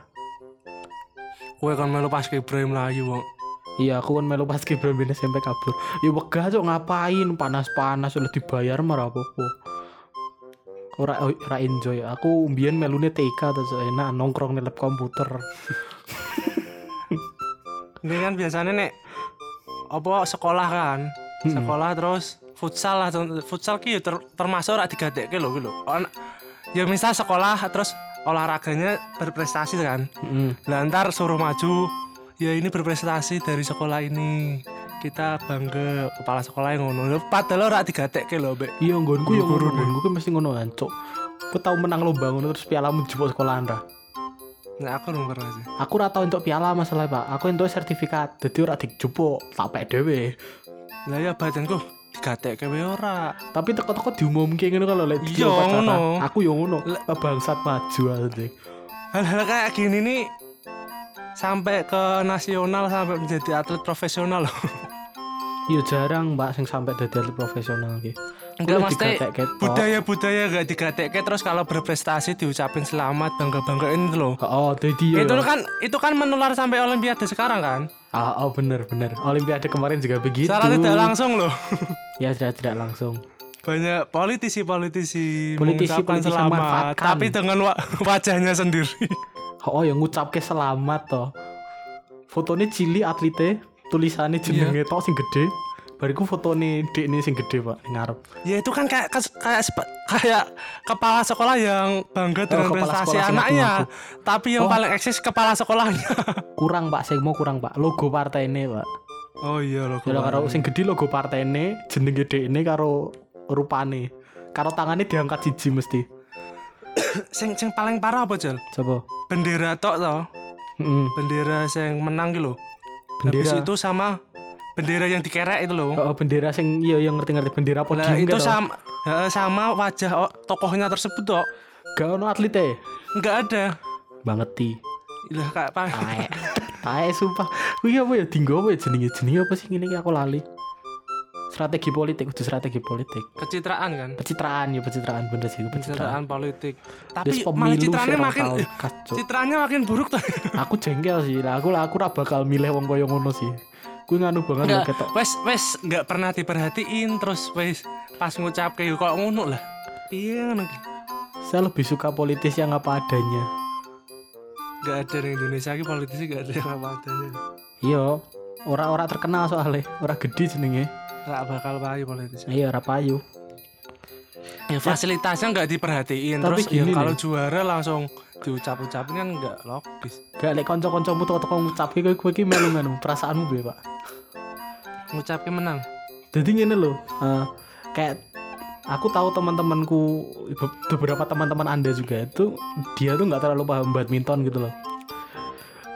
Speaker 3: Kue kan melu pas kibra melayu wong.
Speaker 2: Iya, aku kan melu pas kibra ben SMP kabur. Ya wegah cuk ngapain panas-panas oleh dibayar mah ra apa-apa. Ora oh, ora enjoy. Aku mbiyen melune TK terus enak nongkrong di lab komputer.
Speaker 3: Ini kan biasanya nek apa sekolah kan, sekolah terus futsal lah, contoh- futsal ki ya ter, termasuk ora digadekke lho ki lho. On- Ya misal sekolah terus olahraganya berprestasi kan.
Speaker 2: Heeh.
Speaker 3: Lah ntar suruh maju, ya ini berprestasi dari sekolah ini. Kita bangga kepala sekolah yang ngono. Lho, Padahal ora digadekke lho, Mbak.
Speaker 2: Iya, nggonku yo ngono, nggonku ki mesti ngono kan, cuk. Aku tau menang lomba ngono terus pialamu jebol sekolahan ra.
Speaker 3: Nek aku belum pernah sih.
Speaker 2: Aku ora tau entuk piala masalah, Pak. Aku entuk sertifikat. Dadi ora dijupuk, tak pek dhewe.
Speaker 3: Lah ya badanku digadekke wae ora.
Speaker 2: Tapi teko-teko diumumke ngono kalau lek
Speaker 3: Iya, ngono.
Speaker 2: Aku yo ngono.
Speaker 3: Le-
Speaker 2: Bangsat maju anjing.
Speaker 3: hal-hal kayak gini nih sampai ke nasional sampai menjadi atlet profesional
Speaker 2: Oh.
Speaker 3: loh
Speaker 2: Iya jarang, Mbak, sing sampai dadi atlet profesional iki.
Speaker 3: Enggak,
Speaker 2: Kudu
Speaker 3: maksudnya
Speaker 2: digatekke tok.
Speaker 3: budaya-budaya gak digatekke terus kalau berprestasi diucapin selamat bangga-banggain itu loh
Speaker 2: Oh, dadi yo.
Speaker 3: itu kan itu kan menular sampai olimpiade sekarang kan
Speaker 2: Ah, oh, bener bener. Olimpiade kemarin juga begitu.
Speaker 3: secara tidak langsung loh
Speaker 2: Ya tidak tidak langsung.
Speaker 3: banyak politisi-politisi
Speaker 2: Politisi-
Speaker 3: mengucapkan
Speaker 2: politisi
Speaker 3: selamat
Speaker 2: memanfaatkan.
Speaker 3: tapi dengan wa- wajahnya sendiri
Speaker 2: Oh, yang ngucapke selamat toh. Fotone cilik atlete, tulisannya jenenge tok sing gede. Bariku fotone dekne sing gede, Pak, ning ngarep.
Speaker 3: ya itu kan kayak kas- kayak sepe- kayak kepala sekolah yang bangga
Speaker 2: Oh,
Speaker 3: dengan
Speaker 2: kepala
Speaker 3: prestasi
Speaker 2: sekolah sing
Speaker 3: anaknya tapi yang
Speaker 2: Oh.
Speaker 3: paling eksis kepala sekolahnya
Speaker 2: Kurang, Pak, sing mau kurang, Pak. Logo partai ini, Pak.
Speaker 3: oh iya loh
Speaker 2: Kalau karo sing gede logo partene, jenenge dekne karo rupane. Karo tangane diangkat siji mesti.
Speaker 3: sing sing paling parah apa Jol?
Speaker 2: Coba.
Speaker 3: bendera tok to
Speaker 2: Heeh.
Speaker 3: bendera yang menang gitu habis
Speaker 2: Bendera.
Speaker 3: itu sama bendera yang dikerek itu loh
Speaker 2: Oh, bendera sing iya yang ngerti-ngerti bendera podium
Speaker 3: nah, itu
Speaker 2: gitu.
Speaker 3: sama heeh, sama wajah o- tokohnya tersebut tok
Speaker 2: Gak ono atlete.
Speaker 3: nggak ada
Speaker 2: Bangeti.
Speaker 3: lah kayak apa
Speaker 2: Tae. Tae sumpah. Kuwi apa ya dinggo apa ya jenenge? Jenenge apa sih ngene iki aku lali. Strategi politik, kudu strategi politik.
Speaker 3: kecitraan kan
Speaker 2: Pencitraan ya pencitraan bener sih, itu pencitraan.
Speaker 3: kecitraan politik
Speaker 2: Wis
Speaker 3: tapi malah citraannya
Speaker 2: viral
Speaker 3: makin
Speaker 2: tahun kas, Cuk.
Speaker 3: citraannya makin buruk tuh
Speaker 2: aku jengkel sih. Lah aku lah aku ora bakal milih wong koyo ngono sih. Kuwi nganu banget lho
Speaker 3: nggak
Speaker 2: ketok.
Speaker 3: wes wes nggak pernah diperhatiin terus wes pas ngucap kayak kok ngono lah iya ngono.
Speaker 2: Saya lebih suka politis yang apa adanya.
Speaker 3: nggak ada di Indonesia ini politisi nggak ada yang apa adanya
Speaker 2: Iya, ora-ora terkenal soalnya, ora gede jenenge.
Speaker 3: nggak bakal payu politisi
Speaker 2: Iya, ora payu.
Speaker 3: ya, fasilitasnya nggak diperhatiin
Speaker 2: Tapi
Speaker 3: terus ya
Speaker 2: gini
Speaker 3: kalau
Speaker 2: nih.
Speaker 3: juara langsung diucap-ucapin kan nggak logis
Speaker 2: Gak lek kanca-kancamu teko-teko ngucapke kowe kowe iki melu nganu, perasaanmu piye, Pak?
Speaker 3: ngucapin menang
Speaker 2: Jadi ngene lho, eh, kayak aku tahu teman-temanku be- beberapa teman-teman Anda juga itu dia tuh nggak terlalu paham badminton gitu loh.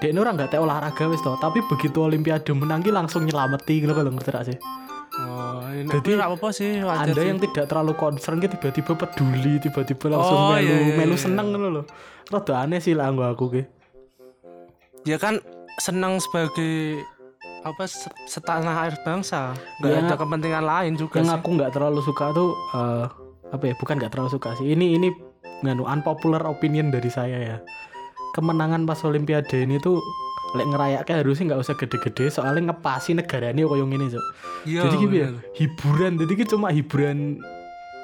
Speaker 2: Dia ini orang nggak tahu olahraga wis toh, tapi begitu Olimpiade menang ki langsung nyelameti gitu loh kalau ngerti gak sih.
Speaker 3: oh ini
Speaker 2: Jadi,
Speaker 3: nggak apa-apa sih wajar
Speaker 2: Anda
Speaker 3: sih.
Speaker 2: yang tidak terlalu concern ki tiba-tiba peduli, tiba-tiba langsung
Speaker 3: Oh,
Speaker 2: melu,
Speaker 3: iya, iya,
Speaker 2: melu
Speaker 3: iya.
Speaker 2: seneng ngono lho. Rada aneh sih lah anggo aku ki.
Speaker 3: dia kan senang sebagai apa se- setanah air bangsa nggak
Speaker 2: Ya.
Speaker 3: ada kepentingan lain juga
Speaker 2: Yang
Speaker 3: sih.
Speaker 2: aku nggak terlalu suka tuh eh, apa ya? Bukan nggak terlalu suka sih. Ini ini nganu unpopular opinion dari saya ya. Kemenangan pas Olimpiade ini tuh lek ngerayaknya harusnya nggak usah gede-gede soalnya ngepasi negara ini kok yang ini Cuk.
Speaker 3: Iya,
Speaker 2: jadi gitu ya
Speaker 3: bener.
Speaker 2: hiburan jadi ki cuma hiburan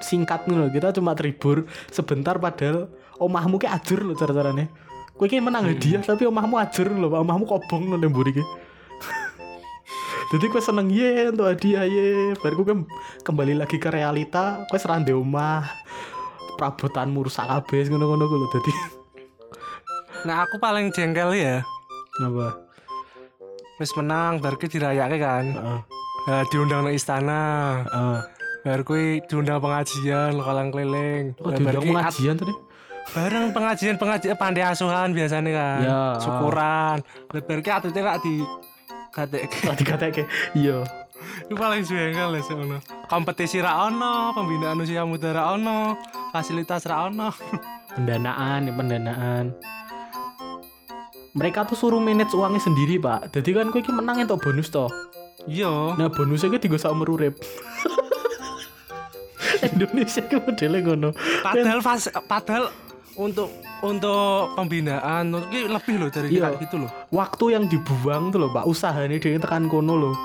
Speaker 2: singkat nih loh kita cuma terhibur sebentar padahal omahmu ki ajur loh cara caranya kue ki menang
Speaker 3: Iya.
Speaker 2: hadiah tapi omahmu ajur loh omahmu kobong loh lembur ki jadi kue seneng ye untuk hadiah ye baru kue kembali lagi ke realita kue serang di omah perabotanmu rusak kabeh ngono-ngono kuwi lho dadi
Speaker 3: nah aku paling jengkel ya
Speaker 2: kenapa
Speaker 3: wis menang bar ki dirayake kan
Speaker 2: heeh
Speaker 3: nah, diundang nang istana
Speaker 2: heeh
Speaker 3: bar kui diundang pengajian lokalang keliling
Speaker 2: oh
Speaker 3: Nah,
Speaker 2: diundang
Speaker 3: bar kui ad-
Speaker 2: pengajian tadi
Speaker 3: bareng pengajian pengajian pandai asuhan biasanya kan
Speaker 2: Ya.
Speaker 3: syukuran lebar ki atletnya gak di katek
Speaker 2: lah dikatakan iya
Speaker 3: itu paling jengkel ya sebenarnya kompetisi ra ono pembinaan usia muda ra ono fasilitas ra ono
Speaker 2: pendanaan ya pendanaan mereka tuh suruh manage uangnya sendiri pak jadi kan kue iki menang entuk bonus toh
Speaker 3: iya
Speaker 2: nah bonusnya gue tiga sama urip Indonesia ke modelnya ngono
Speaker 3: padahal fas- padahal untuk untuk pembinaan untuk ini lebih loh dari
Speaker 2: Iya.
Speaker 3: kita gitu loh
Speaker 2: waktu yang dibuang tuh loh pak usahanya dia tekan kono loh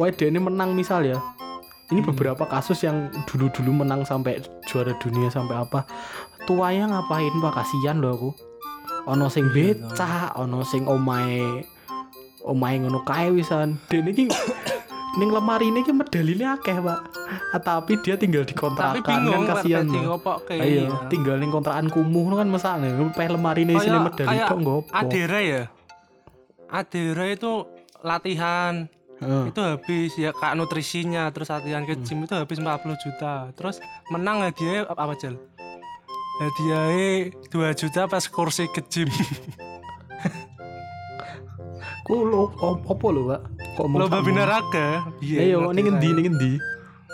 Speaker 2: Wah dia ini menang misal ya ini
Speaker 3: Hmm.
Speaker 2: beberapa kasus yang dulu-dulu menang sampai juara dunia sampai apa tuanya ngapain pak kasihan loh aku ono sing
Speaker 3: Iya,
Speaker 2: beca ono sing omae omae ngono kae wisan dan ini ning lemari ini ki medalilnya akeh pak Ah, tapi dia tinggal di kontrakan
Speaker 3: tapi bingung iya.
Speaker 2: kan kasihan
Speaker 3: ngerti
Speaker 2: loh.
Speaker 3: ngopo kayak
Speaker 2: Ayo, tinggal ning kontrakan kumuh kan mesane. Pe lemari ini sini medali tok nggo apa?
Speaker 3: Adera ya Adera itu latihan
Speaker 2: Heeh. Hmm.
Speaker 3: itu habis ya kak nutrisinya terus latihan ke gym itu habis 40 juta terus menang hadiahnya apa apa jel hadiahnya 2 juta pas kursi ke gym
Speaker 2: Ku lo op- opo lo, Pak? Kok ngomong
Speaker 3: lomba Iya,
Speaker 2: sak-
Speaker 3: binaraga
Speaker 2: Ayo, Iya, ini ngendi, ini ngendi?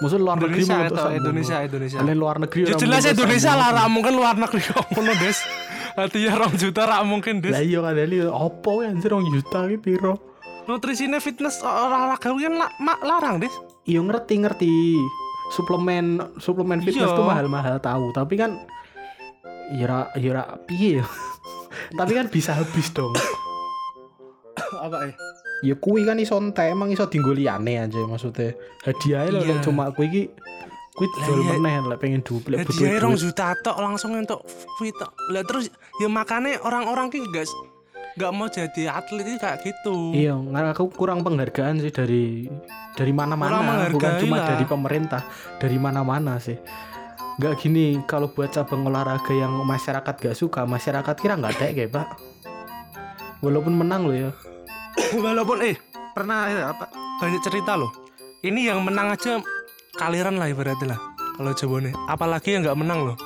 Speaker 2: Maksud luar negeri
Speaker 3: Indonesia
Speaker 2: mau
Speaker 3: atau
Speaker 2: sak-
Speaker 3: Indonesia Indonesia
Speaker 2: Ini luar negeri
Speaker 3: Ya
Speaker 2: orang
Speaker 3: jelas
Speaker 2: mau sak-
Speaker 3: Indonesia lah, rak mungkin luar negeri kok ngono, Des. Artinya rong juta rak mungkin,
Speaker 2: Lah
Speaker 3: Des.
Speaker 2: iya kan ini opo ya anjir orang juta ki piro?
Speaker 3: Nutrisinya fitness olahraga kan la- ma- larang, Des.
Speaker 2: Iya ngerti ngerti. Suplemen suplemen fitness
Speaker 3: Iya.
Speaker 2: tuh mahal-mahal tahu, tapi kan ya ra ya ra piye ya. tapi kan bisa habis dong.
Speaker 3: Apa ya?
Speaker 2: ya kui kan iso entek emang iso dienggo liyane aja maksudnya hadiahnya lho
Speaker 3: Iya.
Speaker 2: lek cuma kui ki kui jual
Speaker 3: iya.
Speaker 2: meneh lek pengen du lek butuh
Speaker 3: Hadiahnya ya rong
Speaker 2: duit
Speaker 3: juta tok langsung entuk fit tok. Lah terus ya makanya orang-orang ki enggak enggak mau jadi atlet itu kayak gitu.
Speaker 2: iya ngar- aku kurang penghargaan sih dari dari
Speaker 3: Kurang
Speaker 2: mana-mana
Speaker 3: menghargai
Speaker 2: bukan cuma
Speaker 3: lah.
Speaker 2: dari pemerintah dari mana-mana sih nggak gini kalau buat cabang olahraga yang masyarakat gak suka masyarakat kira nggak ada kayak pak walaupun menang loh ya
Speaker 3: Walaupun eh pernah eh, apa banyak cerita loh. Ini yang menang aja kaliran lah ibaratnya lah. Kalau jawabannya apalagi yang enggak menang loh.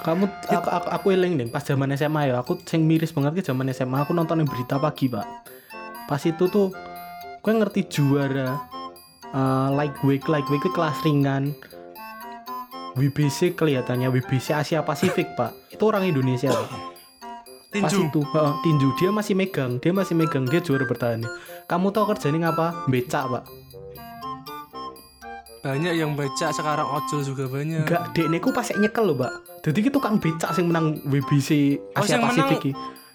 Speaker 2: kamu aku aku, aku eling nih pas zaman SMA ya aku sing miris banget ke zaman SMA aku nonton yang berita pagi pak pas itu tuh gue ngerti juara eh, lightweight lightweight itu kelas ringan WBC kelihatannya WBC Asia Pasifik pak itu orang Indonesia pak. pas
Speaker 3: Tinju.
Speaker 2: itu heeh, tinju dia masih megang dia masih megang dia juara bertahan kamu tahu kerjanya ngapa becak pak
Speaker 3: Banyak yang baca sekarang ojol juga banyak.
Speaker 2: Enggak, dek niku pas sek nyekel lho, Pak. Dadi ki tukang becak sing menang WBC
Speaker 3: Oh,
Speaker 2: Asia
Speaker 3: sing menang
Speaker 2: Pasifik ki.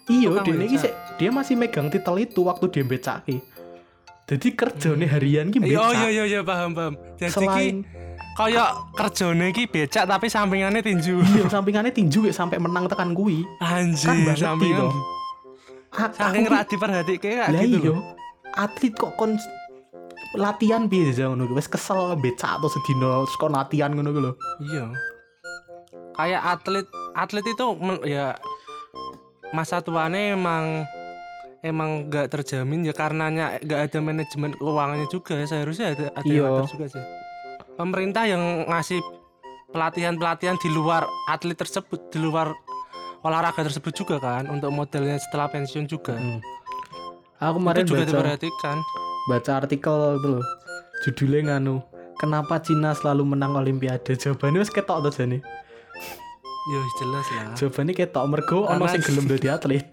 Speaker 2: Iya,
Speaker 3: tukang
Speaker 2: dek iki
Speaker 3: becak.
Speaker 2: sek dia masih megang titel itu waktu dia becak ki. Jadi kerjane harian ki
Speaker 3: Iya,
Speaker 2: becak.
Speaker 3: oh, iya, iya, iya, paham, paham. Jadi
Speaker 2: Selain
Speaker 3: ki kayak kerjone ki becak tapi sampingannya tinju.
Speaker 2: iya sampingannya tinju ya sampai menang tekan kuwi.
Speaker 3: Anjir,
Speaker 2: Kan banget
Speaker 3: sampingan.
Speaker 2: toh. Ak- aku
Speaker 3: Saking
Speaker 2: ki-
Speaker 3: rak diperhatike kayak
Speaker 2: Lah
Speaker 3: gitu
Speaker 2: iya.
Speaker 3: loh.
Speaker 2: Atlet kok kon latihan piye aja ngono ki. Wes kesel becak atau sedino terus kon latihan ngono ki lho.
Speaker 3: Iya. Kayak atlet, atlet itu men- ya masa tuanya emang emang nggak terjamin ya karenanya nggak ada manajemen keuangannya juga ya seharusnya ada ada yang
Speaker 2: Iya.
Speaker 3: ngatur juga sih pemerintah yang ngasih pelatihan pelatihan di luar atlet tersebut di luar olahraga tersebut juga kan untuk modelnya setelah pensiun juga
Speaker 2: Aku Hmm. kemarin
Speaker 3: Nah. itu juga
Speaker 2: baca
Speaker 3: diperhatikan
Speaker 2: baca artikel itu loh judulnya nganu kenapa Cina selalu menang olimpiade jawabannya wis ketok to jane
Speaker 3: Yo jelas lah.
Speaker 2: jawabannya ketok mergo ono
Speaker 3: Karena-
Speaker 2: sing gelem dadi atlet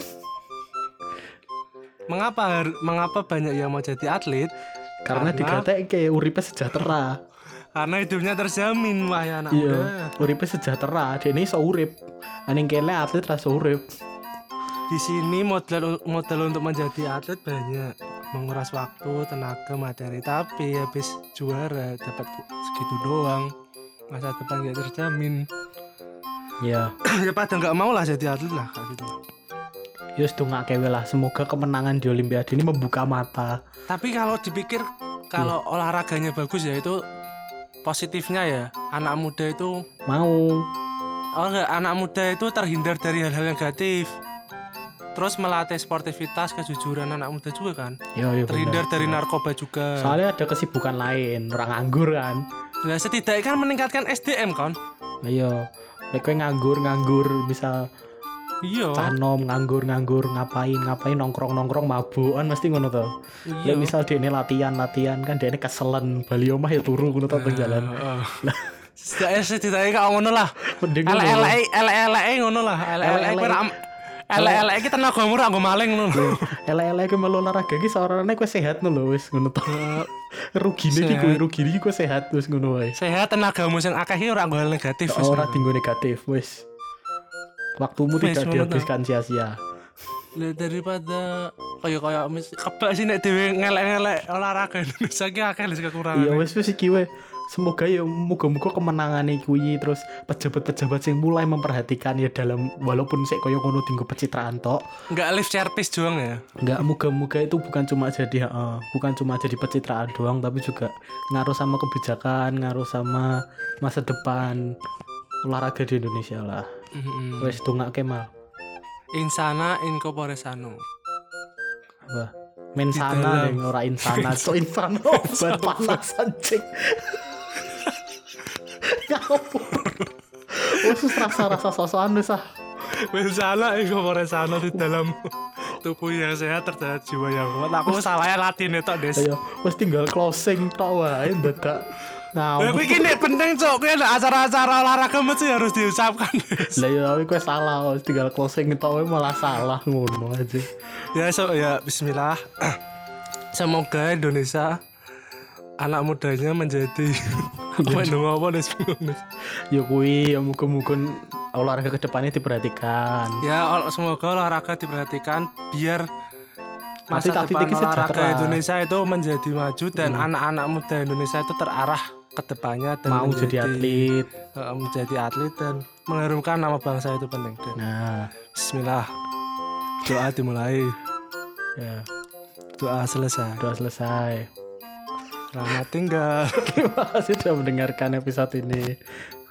Speaker 3: Mengapa har- mengapa banyak yang mau jadi atlet?
Speaker 2: karena, digatekke uripe sejahtera
Speaker 3: karena hidupnya terjamin wahai anak muda.
Speaker 2: iya uripe sejahtera dene iso urip aning kele atlet ra iso urip
Speaker 3: Di sini modal modal untuk menjadi atlet banyak, menguras waktu, tenaga, materi. Tapi habis juara dapat segitu doang, masa depan gak terjamin.
Speaker 2: iya
Speaker 3: ya pada nggak mau lah jadi atlet lah kayak gitu.
Speaker 2: ya sedongake wae lah semoga kemenangan di olimpiade ini membuka mata
Speaker 3: Tapi kalau dipikir kalau olahraganya bagus ya itu positifnya ya anak muda itu
Speaker 2: mau
Speaker 3: oh enggak, anak muda itu terhindar dari hal-hal negatif. Terus melatih sportivitas kejujuran anak muda juga kan.
Speaker 2: ya ya
Speaker 3: Terhindar
Speaker 2: bener.
Speaker 3: dari narkoba juga.
Speaker 2: soalnya ada kesibukan lain orang nganggur kan
Speaker 3: Lah setidaknya kan meningkatkan SDM kan.
Speaker 2: ayo mereka iya. nganggur nganggur bisa
Speaker 3: Iya.
Speaker 2: canom nganggur nganggur ngapain ngapain nongkrong nongkrong mabukan mesti ngono to ya
Speaker 3: Iya.
Speaker 2: misal dia ini latihan latihan kan dia ini keselen bali omah ya turu ngono to jalan
Speaker 3: Heeh. Setidaknya setidaknya kau ngono lah.
Speaker 2: mending ngono.
Speaker 3: Elek-elek elek-elek ngono lah. Elek-elek
Speaker 2: Elek-elek.
Speaker 3: kowe ra- elek-elek iki tenaga murah nggo maling ngono.
Speaker 2: elek-elek kowe melu olahraga iki saorane kowe sehat ngono lho wis ngono to rugine iki kowe
Speaker 3: Sehat.
Speaker 2: rugine iki kowe sehat wis ngono wae
Speaker 3: sehat tenagamu sing akeh iki ora nggo hal negatif wis.
Speaker 2: ora tinggo negatif wis waktumu
Speaker 3: Wis,
Speaker 2: tidak
Speaker 3: ngono to.
Speaker 2: dihabiskan sia-sia
Speaker 3: Lah, daripada kaya kaya mis kebak sih nek dhewe ngelek-ngelek olahraga Indonesia iki akeh lho
Speaker 2: iya
Speaker 3: kekurangan.
Speaker 2: wes wes iki we semoga ya muga-muga kemenangane kuwi terus pejabat-pejabat sing mulai memperhatikan ya dalam walaupun sik koyo ngono dinggo pencitraan tok
Speaker 3: Enggak lift service doang ya.
Speaker 2: nggak muga-muga itu bukan cuma jadi heeh, bukan cuma jadi pencitraan doang tapi juga ngaruh sama kebijakan ngaruh sama masa depan olahraga di Indonesia lah
Speaker 3: Mm-mm.
Speaker 2: wes dongake mal
Speaker 3: Insana incorpore sano.
Speaker 2: apa mensana
Speaker 3: dalam.
Speaker 2: yang ora insana so insana obat panas anjing Ya ngawur wes rasa-rasa sosokan wis ah
Speaker 3: Insana incorpore sano di dalam tubuh yang sehat terdapat jiwa yang kuat. Aku salahnya Latin tok, Des.
Speaker 2: ayo wes ya, tinggal closing tok wae dadak
Speaker 3: Lah
Speaker 2: ngawur
Speaker 3: kuwi iki nek penting cok, kuwi nek acara-acara olahraga mesti harus diusapkan. Des.
Speaker 2: lah ya tapi gue salah wes tinggal closing tok wae malah salah ngono aja
Speaker 3: ya so ya bismillah semoga Indonesia anak mudanya menjadi apa yang ngomong apa Nes? Bingung, Nes.
Speaker 2: ya kuwi ya muga-muga olahraga kedepannya diperhatikan
Speaker 3: ya ol- semoga olahraga diperhatikan biar
Speaker 2: Nanti
Speaker 3: masa
Speaker 2: tapi
Speaker 3: depan
Speaker 2: ini
Speaker 3: olahraga
Speaker 2: sejahtera.
Speaker 3: Indonesia itu menjadi maju dan
Speaker 2: Hmm.
Speaker 3: anak-anak muda Indonesia itu terarah ke depannya dan
Speaker 2: mau
Speaker 3: menjadi-
Speaker 2: jadi atlet
Speaker 3: eh, menjadi atlet dan mengharumkan nama bangsa itu penting Dan
Speaker 2: nah
Speaker 3: Bismillah doa dimulai
Speaker 2: ya
Speaker 3: doa selesai
Speaker 2: udah selesai
Speaker 3: selamat tinggal
Speaker 2: Terima kasih sudah mendengarkan episode ini.